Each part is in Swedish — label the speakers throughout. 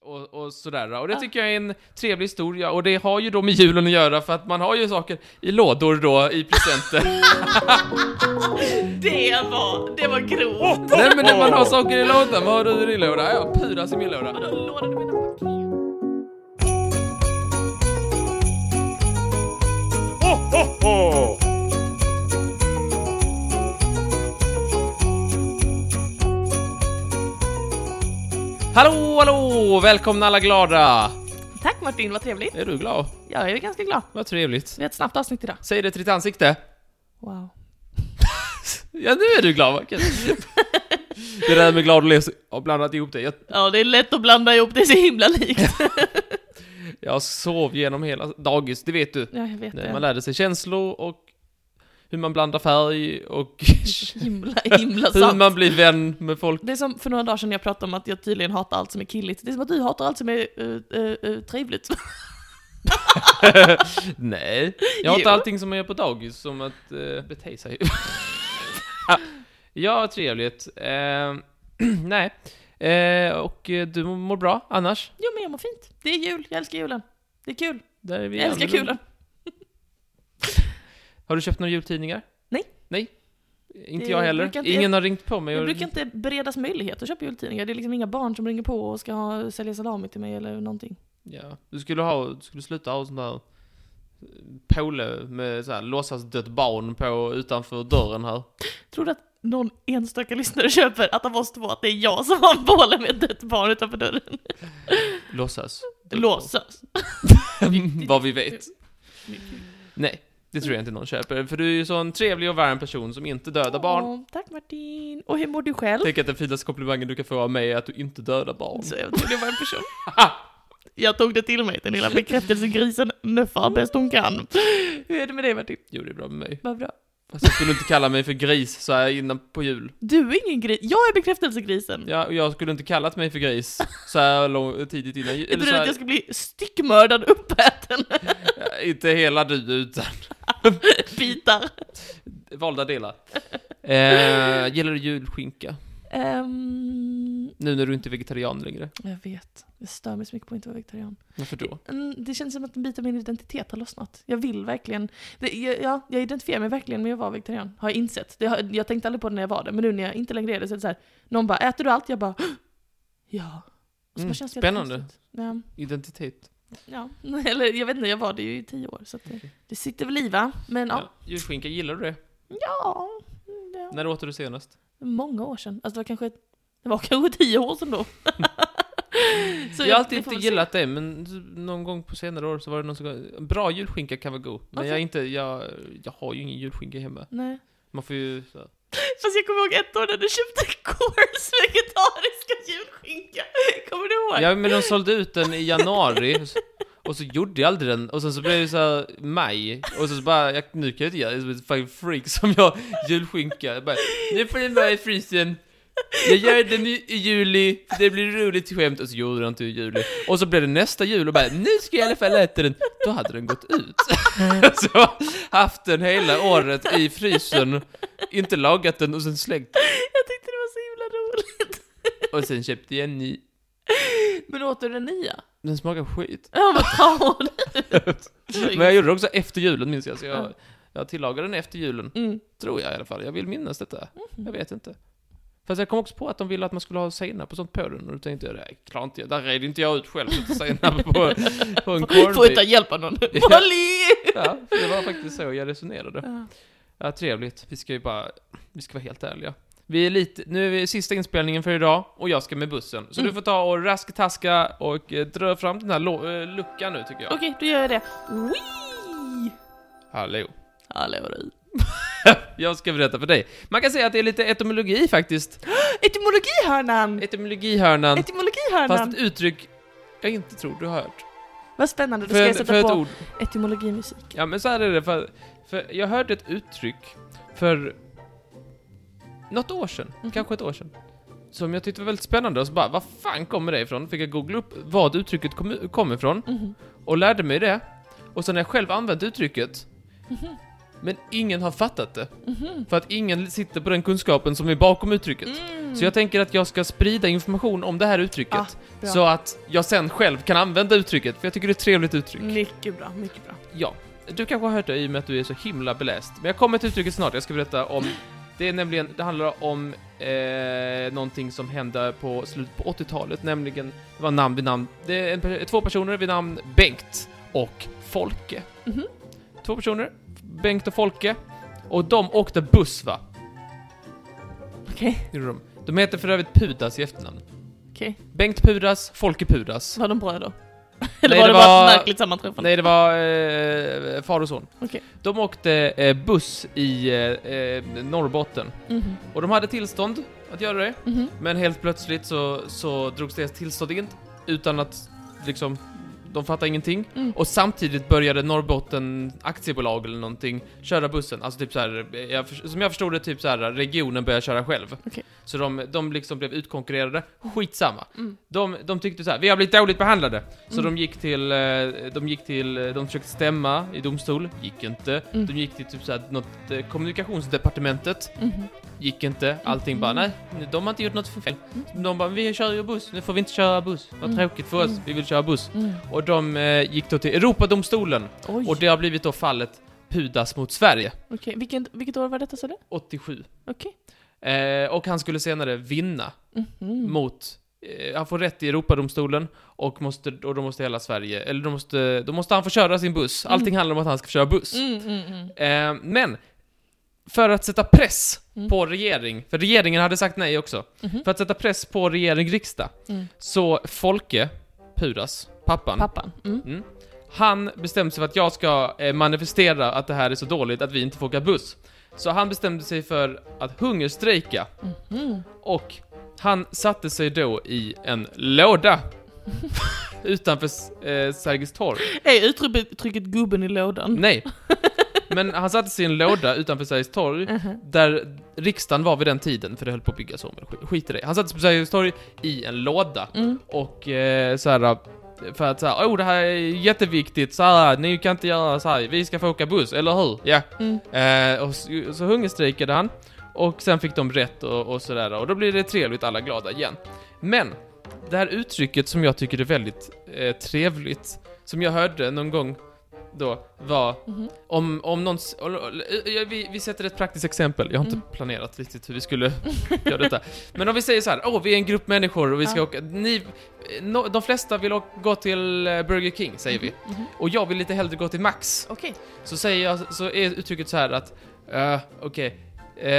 Speaker 1: och, och sådär. Och det tycker jag är en trevlig historia, och det har ju då med julen att göra för att man har ju saker i lådor då, i presenter.
Speaker 2: Det var, det var grovt.
Speaker 1: Nej men när man har saker i lådan, vad har du i din låda? Ja, puras i min låda.
Speaker 2: Vadå, låda du menar paket?
Speaker 1: Hallå, hallå! Välkomna alla glada!
Speaker 2: Tack Martin, vad trevligt.
Speaker 1: Är du glad?
Speaker 2: Jag är ganska glad.
Speaker 1: Vad trevligt.
Speaker 2: Vi har ett snabbt avsnitt idag.
Speaker 1: Säg det till ditt ansikte.
Speaker 2: Wow.
Speaker 1: Ja, nu är du glad, vad kul. Det där med glad och ledsen, jag har blandat ihop det. Jag,
Speaker 2: Ja, det är lätt att blanda ihop, det är så himla likt.
Speaker 1: jag sov genom hela dagis, det vet du.
Speaker 2: Ja, jag vet
Speaker 1: Nej, man
Speaker 2: det.
Speaker 1: lärde sig känslor och hur man blandar färg och
Speaker 2: Himla, himla
Speaker 1: hur
Speaker 2: sant.
Speaker 1: man blir vän med folk.
Speaker 2: Det är som för några dagar sedan jag pratade om att jag tydligen hatar allt som är killigt. Det är som att du hatar allt som är eh, eh, eh, trevligt.
Speaker 1: Nej, jag har
Speaker 2: Jo.
Speaker 1: inte allting som man gör på dagis, som att eh, bete sig. ja, ja, trevligt. Eh, nej, eh, och eh, du mår bra annars?
Speaker 2: Jo, men jag mår fint. Det är jul, jag älskar julen. Det är kul,
Speaker 1: Där är vi
Speaker 2: jag älskar
Speaker 1: annorlunda.
Speaker 2: kulen.
Speaker 1: Har du köpt några jultidningar?
Speaker 2: Nej.
Speaker 1: Nej, inte
Speaker 2: Det
Speaker 1: jag heller.
Speaker 2: brukar inte-
Speaker 1: Ingen har ringt på mig.
Speaker 2: Jag
Speaker 1: och-
Speaker 2: brukar inte beredas möjlighet att köpa jultidningar. Det är liksom inga barn som ringer på och ska ha, sälja salami till mig eller någonting.
Speaker 1: Ja, du skulle ha, du skulle sluta ha sån där pole med så här låtsas dött barn på utanför dörren här.
Speaker 2: Tror du att någon enstaka lyssnare köper att av oss två att det är jag som har en båle med ett dött barn utanför dörren?
Speaker 1: Låtsas. dött
Speaker 2: Låtsas.
Speaker 1: barn. Mm, Vad vi vet. Nej, det tror jag inte någon köper. För du är ju sån trevlig och varm person som inte dödar barn.
Speaker 2: Åh, tack Martin. Och hur mår du själv?
Speaker 1: Tänk att den finaste komplimangen du kan få av mig är att du inte dödar barn.
Speaker 2: Så jag trodde det var en person. Jag tog det till mig, den lilla bekräftelsegrisen nuffar bäst hon kan. Hur är det med dig Martin?
Speaker 1: Jo, det är bra med mig.
Speaker 2: Vad bra.
Speaker 1: Fast jag skulle inte kalla mig för gris så här innan på jul.
Speaker 2: Du är ingen gris, jag är bekräftelsegrisen.
Speaker 1: Ja, och jag skulle inte kallat mig för gris så här lång, tidigt innan jul.
Speaker 2: Är
Speaker 1: Eller
Speaker 2: du
Speaker 1: så
Speaker 2: rädd att
Speaker 1: här,
Speaker 2: jag ska bli styckmördad, uppäten,
Speaker 1: inte hela du, utan
Speaker 2: bitar?
Speaker 1: valda delar. Eh, gillar du julskinka?
Speaker 2: Ehm,
Speaker 1: Nu när du inte är vegetarian längre.
Speaker 2: jag vet, jag stör mig så mycket på att inte vara vegetarian.
Speaker 1: Varför då?
Speaker 2: Mm, Det känns som att en bit av min identitet har lossnat. Jag vill verkligen, det, jag- ja, jag identifierar mig verkligen med att vara vegetarian, har jag insett. Det har, jag tänkte aldrig på det när jag var det, men nu när jag inte längre är det så är det så här, någon bara äter du allt? Jag bara ja. Och så
Speaker 1: Mm,
Speaker 2: bara känns det
Speaker 1: spännande.
Speaker 2: jättekonstigt. Ja,
Speaker 1: Identitet.
Speaker 2: ja. eller jag vet inte, jag var det ju i tio år så att det, det sitter väl i va? Men ja.
Speaker 1: Ja. Julskinka, gillar du det?
Speaker 2: Ja, ja.
Speaker 1: När åt du det senast?
Speaker 2: många år sedan. Alltså det var kanske, det var kanske tio år sedan då. så
Speaker 1: jag har alltid
Speaker 2: vi får
Speaker 1: inte
Speaker 2: väl se.
Speaker 1: gillat det, men någon gång på senare år så var det någon som... Bra julskinka kan vara god, men
Speaker 2: Okej.
Speaker 1: jag, är inte, jag, jag har ju ingen julskinka hemma.
Speaker 2: Nej.
Speaker 1: Man får ju... Så här,
Speaker 2: Fast jag kommer ihåg ett år när du köpte Coors vegetariska julskinka. Kommer du ihåg?
Speaker 1: ja, men de sålde ut den i januari, och så- och så gjorde jag aldrig den, och sen så blev det så här, maj, och så, så bara, jag, nu kan jag inte göra det, som ett fucking freak som jag julskinka. Jag bara, nu får den vara i frysen. Jag gör den i i juli, det blir roligt skämt, och så gjorde den inte i juli. Och så blev det nästa jul och bara, nu ska jag i alla fall äta den. Då hade den gått ut. så jag har haft den hela året i frysen, inte lagat den och sen slängt.
Speaker 2: Jag tyckte det var så himla roligt.
Speaker 1: Och sen köpte jag en ny.
Speaker 2: Men åt du den nya?
Speaker 1: Den smakar skit.
Speaker 2: Ja, vad tråd.
Speaker 1: Men jag gjorde det också efter julen minns jag, så jag,
Speaker 2: Ja.
Speaker 1: jag tillagade den efter julen.
Speaker 2: Mm.
Speaker 1: Tror jag i alla fall, jag vill minnas detta. Jag vet inte. Fast jag kom också på att de ville att man skulle ha senap och sånt på den, och då tänkte jag, det här klarar inte jag, där redde inte jag ut själv, så senap på, på en
Speaker 2: Får ta
Speaker 1: corned
Speaker 2: hjälp av någon.
Speaker 1: Ja.
Speaker 2: Molly!
Speaker 1: Ja, det var faktiskt så jag resonerade.
Speaker 2: Ja.
Speaker 1: Ja, trevligt. Vi ska ju bara, vi ska vara helt ärliga. Vi är lite, nu är vi sista inspelningen för idag, och jag ska med bussen. Så
Speaker 2: Mm.
Speaker 1: du får ta och rasktaska och eh, dra fram den här lo- eh, luckan nu tycker jag.
Speaker 2: Okej, då gör jag det. Wee!
Speaker 1: Hallå.
Speaker 2: Hallå du.
Speaker 1: Jag ska berätta för dig. Man kan säga att det är lite etymologi faktiskt.
Speaker 2: Etymologihörnan!
Speaker 1: Etymologihörnan. Fast
Speaker 2: Etymologihörnan!
Speaker 1: ett uttryck jag inte tror du har hört.
Speaker 2: Vad spännande, då ska
Speaker 1: För,
Speaker 2: jag
Speaker 1: för, för
Speaker 2: sätta
Speaker 1: ett
Speaker 2: på
Speaker 1: ord.
Speaker 2: etymologimusik.
Speaker 1: Ja men så här är det. För, för jag hörde ett uttryck för något år sedan,
Speaker 2: Mhm.
Speaker 1: kanske ett år sedan. Som jag tyckte var väldigt spännande och så bara, vad fan kommer det ifrån? Fick jag googla upp vad uttrycket kom, kom ifrån
Speaker 2: Mhm. Mhm.
Speaker 1: och lärde mig det. Och sen har jag själv använt uttrycket. Men ingen har fattat det. För att ingen sitter på den kunskapen som är bakom uttrycket.
Speaker 2: Mm.
Speaker 1: Så jag tänker att jag ska sprida information om det här uttrycket.
Speaker 2: Ah, bra.
Speaker 1: så att jag sen själv kan använda uttrycket, för jag tycker det är ett trevligt uttryck.
Speaker 2: Mycket bra, mycket bra.
Speaker 1: Ja. Du kanske har hört det i och med att du är så himla beläst. Men jag kommer till uttrycket snart, jag ska berätta om... Det är nämligen, det handlar om eh, någonting som hände på slutet på 80-talet, nämligen, det var namn vid namn, det är en, per- två personer vid namn Bengt och Folke.
Speaker 2: Mhm.
Speaker 1: Två personer, Bengt och Folke, och de åkte buss va?
Speaker 2: Okej,
Speaker 1: Gjorde de. de heter för övrigt Pudas i efternamn.
Speaker 2: okej.
Speaker 1: Bengt Pudas, Folke Pudas.
Speaker 2: Var de bröder? Eller
Speaker 1: Nej,
Speaker 2: var
Speaker 1: det
Speaker 2: det bara
Speaker 1: var-
Speaker 2: ett märkligt sammanträffande?
Speaker 1: Nej, det var eh, far och son.
Speaker 2: Okej.
Speaker 1: De åkte eh, buss i eh, eh, Norrbotten.
Speaker 2: Mhm,
Speaker 1: Och de hade tillstånd att göra det,
Speaker 2: mhm.
Speaker 1: men helt plötsligt så, så drogs deras tillstånd in utan att liksom, de fattade ingenting.
Speaker 2: Mm.
Speaker 1: Och samtidigt började Norrbotten aktiebolag eller någonting köra bussen. Alltså typ så här, eh, jag, förs- som jag förstod det, typ så här, regionen började köra själv.
Speaker 2: Okej.
Speaker 1: Så de, de liksom blev utkonkurrerade. Skitsamma.
Speaker 2: Mm.
Speaker 1: De, de tyckte så här, vi har blivit dåligt behandlade. Så
Speaker 2: Mm.
Speaker 1: de gick till, eh, de gick till, eh, de försökte stämma i domstol, gick inte.
Speaker 2: Mm.
Speaker 1: De gick till typ så här, något eh, kommunikationsdepartementet,
Speaker 2: Mhm.
Speaker 1: gick inte. Allting bara,
Speaker 2: Mm.
Speaker 1: nej, de har inte gjort något för fel. De bara, vi kör ju buss, nu får vi inte köra buss. Vad
Speaker 2: Mm.
Speaker 1: tråkigt för oss,
Speaker 2: Mm.
Speaker 1: vi vill köra buss.
Speaker 2: Mm.
Speaker 1: Och de eh, gick då till Europadomstolen
Speaker 2: Oj,
Speaker 1: och det har blivit då fallet Pudas mot Sverige,
Speaker 2: Mm. okej. Vilket, vilket år var detta sa du?
Speaker 1: 87.
Speaker 2: Okej.
Speaker 1: Eh, och han skulle senare vinna
Speaker 2: Mhm.
Speaker 1: mot eh, han får rätt i Europadomstolen och, måste, och då måste hela Sverige, eller då måste, då måste han få köra sin buss. Allting handlar om att han ska få köra buss.
Speaker 2: Mm, mm, mm.
Speaker 1: Eh, men, för att sätta press
Speaker 2: Mm.
Speaker 1: på regering, för regeringen hade sagt nej också,
Speaker 2: Mhm.
Speaker 1: för att sätta press på regering, riksdag,
Speaker 2: Mm.
Speaker 1: så Folke, Puras, pappan,
Speaker 2: Pappan. Mm.
Speaker 1: han bestämde sig för att jag ska eh, manifestera att det här är så dåligt att vi inte får åka buss. Så han bestämde sig för att hungerstrejka
Speaker 2: Mm.
Speaker 1: och han satte sig då i en låda utanför eh, Sergels torg.
Speaker 2: Är uttrycket gubben i lådan?
Speaker 1: Nej, men han satte sig i en låda utanför Sergels torg
Speaker 2: Mhm.
Speaker 1: där riksdagen var vid den tiden, för det höll på att byggas om. Sk- Skit i det. Han satte sig på Sergels torg i en låda
Speaker 2: Mm.
Speaker 1: och eh, så här för att såhär, oh det här är jätteviktigt, så här, ni kan inte göra så här. vi ska få åka buss, eller hur? Ja.
Speaker 2: Mm.
Speaker 1: Eh, och så, så hungerstrejkade han, och sen fick de rätt och, och sådär, och då blir det trevligt, alla glada igen. Men, det här uttrycket som jag tycker är väldigt eh, trevligt, som jag hörde någon gång då, var
Speaker 2: Mhm.
Speaker 1: om, om någon... s- ol- ol- eh, Vi, vi sätter ett praktiskt exempel. Jag har inte
Speaker 2: Mm.
Speaker 1: planerat riktigt hur vi skulle göra detta. Men om vi säger så här, åh, vi är en grupp människor och vi ska
Speaker 2: Ja.
Speaker 1: åka... Ni, eh, no, de flesta vill åka, gå till eh, Burger King, säger vi.
Speaker 2: Mhm.
Speaker 1: Och jag vill lite hellre gå till Max.
Speaker 2: Okej.
Speaker 1: Så säger jag, så är uttrycket så här att, eh, okej, eh,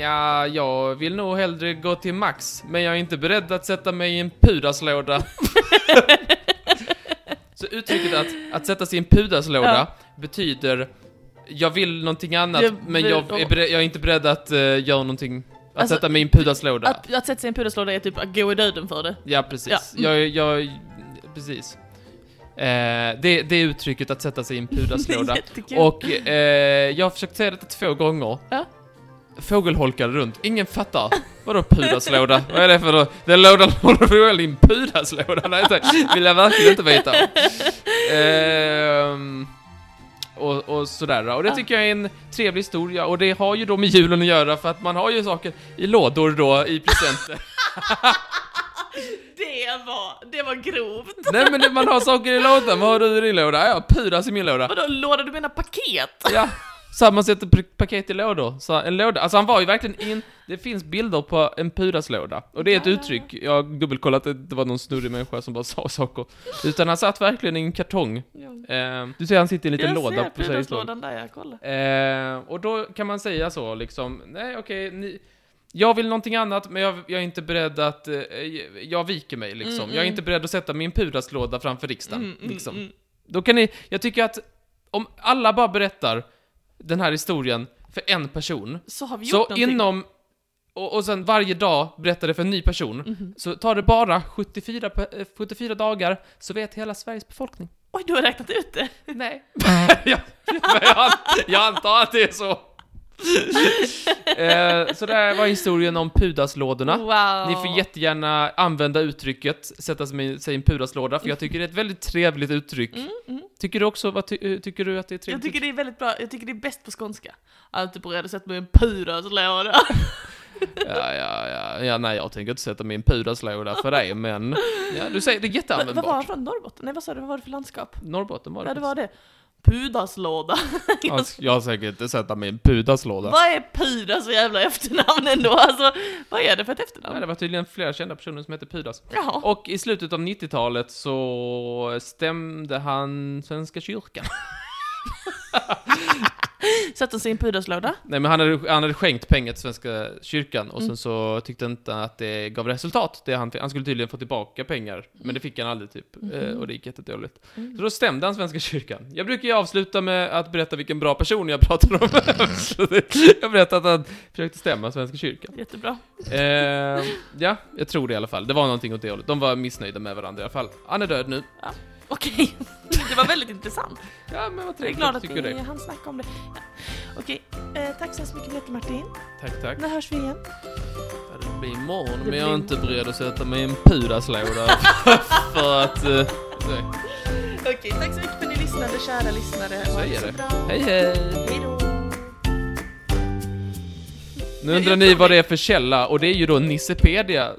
Speaker 1: ja, jag vill nog hellre gå till Max, men jag är inte beredd att sätta mig i en pudaslåda. så uttrycket att, att sätta sig i en pudaslåda betyder, jag vill någonting annat,
Speaker 2: Jag
Speaker 1: men
Speaker 2: vill-
Speaker 1: jag är, beredd, jag är inte beredd att eh, göra någonting, att
Speaker 2: Alltså,
Speaker 1: sätta mig i en pudaslåda.
Speaker 2: Att, att sätta sig i en pudelslåda är typ att gå i döden för det.
Speaker 1: Ja, precis.
Speaker 2: Ja, mm.
Speaker 1: Jag, jag, precis. Eh, det, det är uttrycket att sätta sig i en pudaslåda.
Speaker 2: jättekul.
Speaker 1: Och eh, jag har försökt säga detta två gånger.
Speaker 2: Ja.
Speaker 1: Fågelholkar runt, ingen fattar. Vadå pudaslåda? Vad är det för då? Den lådan håller väl i en pudaslåda? Nej, tack. vill jag verkligen inte veta. Ehm, och, och sådär. Och det
Speaker 2: Ja.
Speaker 1: tycker jag är en trevlig historia. Och det har ju då med julen att göra för att man har ju saker i lådor då i presenter.
Speaker 2: Det var, det var grovt.
Speaker 1: Nej men det- man har saker i lådan. Vad har du i din låda? Ja, pudas i min låda.
Speaker 2: Vadå låda? Du menar paket?
Speaker 1: Ja, så man sätter pr- paket i lådor. Så en låda, alltså han var ju verkligen in, det finns bilder på en pudaslåda. Och det är ett
Speaker 2: Ja, ja, ja.
Speaker 1: uttryck, jag har dubbelkollat att det inte var någon snurrig människa som bara sa saker. Utan han satt verkligen i en kartong. Eh, du ser han sitter i en liten
Speaker 2: jag
Speaker 1: låda
Speaker 2: ser
Speaker 1: på Sergels torg.
Speaker 2: pudelslådan där, jag kollar.
Speaker 1: Eh, och då kan man säga så liksom, nej okej, ni, jag vill någonting annat men jag, jag är inte beredd att, eh, jag viker mig liksom.
Speaker 2: Mm,
Speaker 1: Jag är
Speaker 2: mm.
Speaker 1: inte beredd att sätta min pudaslåda framför riksdagen.
Speaker 2: Mm, mm,
Speaker 1: liksom.
Speaker 2: mm.
Speaker 1: Då kan ni, jag tycker att om alla bara berättar den här historien för en person,
Speaker 2: Så har vi gjort
Speaker 1: så
Speaker 2: någonting.
Speaker 1: inom, och, och sen varje dag berättar det för en ny person,
Speaker 2: Mhm.
Speaker 1: så tar det bara 74, pe- eh, 74 dagar så vet hela Sveriges befolkning.
Speaker 2: Oj, du har räknat ut det.
Speaker 1: Nej. jag, men jag, an- jag antar att det är så. eh, så där var historien om pudaslådorna.
Speaker 2: Wow.
Speaker 1: Ni får jättegärna använda uttrycket sätta sig i sig i en pudaslåda, för jag tycker det är ett väldigt trevligt uttryck.
Speaker 2: mm.
Speaker 1: Tycker du också, vad ty, eh, tycker du att det är
Speaker 2: Jag
Speaker 1: trevligt?
Speaker 2: tycker det är väldigt bra, jag tycker det är bäst på skånska. Alltid på sätt med en pudelslåda.
Speaker 1: Ja, ja, ja, ja, nej jag tänker inte sätta min pudelslåda för dig, men... Ja, du säger, det är
Speaker 2: Va- Vad var han
Speaker 1: jätteanvändbart.
Speaker 2: från? Norrbotten? Nej vad sa du, vad var det för landskap?
Speaker 1: Norrbotten var det.
Speaker 2: Ja det var det. Pudelslåda.
Speaker 1: faktiskt. Alltså, Jag har säkert inte sätta min pudelslåda.
Speaker 2: Vad är Pudas för jävla efternamn ändå? Alltså, vad är det för ett
Speaker 1: Ja,
Speaker 2: efternamn?
Speaker 1: det var tydligen flera kända personer som hette Pudas.
Speaker 2: Jaha.
Speaker 1: Och i slutet av 90-talet så stämde han Svenska kyrkan.
Speaker 2: Satte han sig i en puderslåda?
Speaker 1: Nej, men han hade, han hade skänkt pengar till Svenska kyrkan och sen så tyckte han inte att det gav resultat. Det han, fick. han skulle tydligen få tillbaka pengar, men det fick han aldrig typ. Eh, Och det gick jättedåligt. Så då stämde han Svenska kyrkan. Jag brukar ju avsluta med att berätta vilken bra person jag pratar om. Så det- jag berättade att han försökte stämma Svenska kyrkan.
Speaker 2: Jättebra.
Speaker 1: Eh, ja, jag tror det i alla fall. Det var någonting åt det hållet. De var missnöjda med varandra i alla fall. Han är död nu.
Speaker 2: Okej, det var väldigt intressant.
Speaker 1: Ja, men vad
Speaker 2: Jag är
Speaker 1: trevligt
Speaker 2: glad
Speaker 1: att
Speaker 2: att
Speaker 1: du tycker
Speaker 2: vi
Speaker 1: det.
Speaker 2: hann snacka om det. Ja. Okej, eh, tack så hemskt mycket för att du, Martin.
Speaker 1: Tack, tack.
Speaker 2: När hörs vi igen?
Speaker 1: Ja, Det blir imorgon,
Speaker 2: Det
Speaker 1: men jag är
Speaker 2: blir
Speaker 1: inte
Speaker 2: imorgon.
Speaker 1: beredd att sätta mig i en pudaslåda för att... eh, nej.
Speaker 2: Okej, tack så mycket för att ni lyssnade, kära lyssnare. Ha det
Speaker 1: Säger
Speaker 2: så
Speaker 1: det.
Speaker 2: bra.
Speaker 1: Hej, hej!
Speaker 2: Hej då.
Speaker 1: Nu undrar ni vad det är för källa, och det är ju då Nissepedia.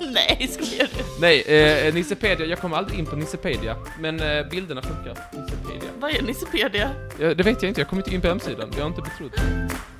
Speaker 2: Nej, skojar du?
Speaker 1: Nej, eh, Nissepedia, jag kommer aldrig in på Nissepedia, men eh, bilderna funkar. Nissepedia.
Speaker 2: Vad är Nissepedia?
Speaker 1: Ja, det vet jag inte, jag kommer inte in på hemsidan, jag har inte betrott.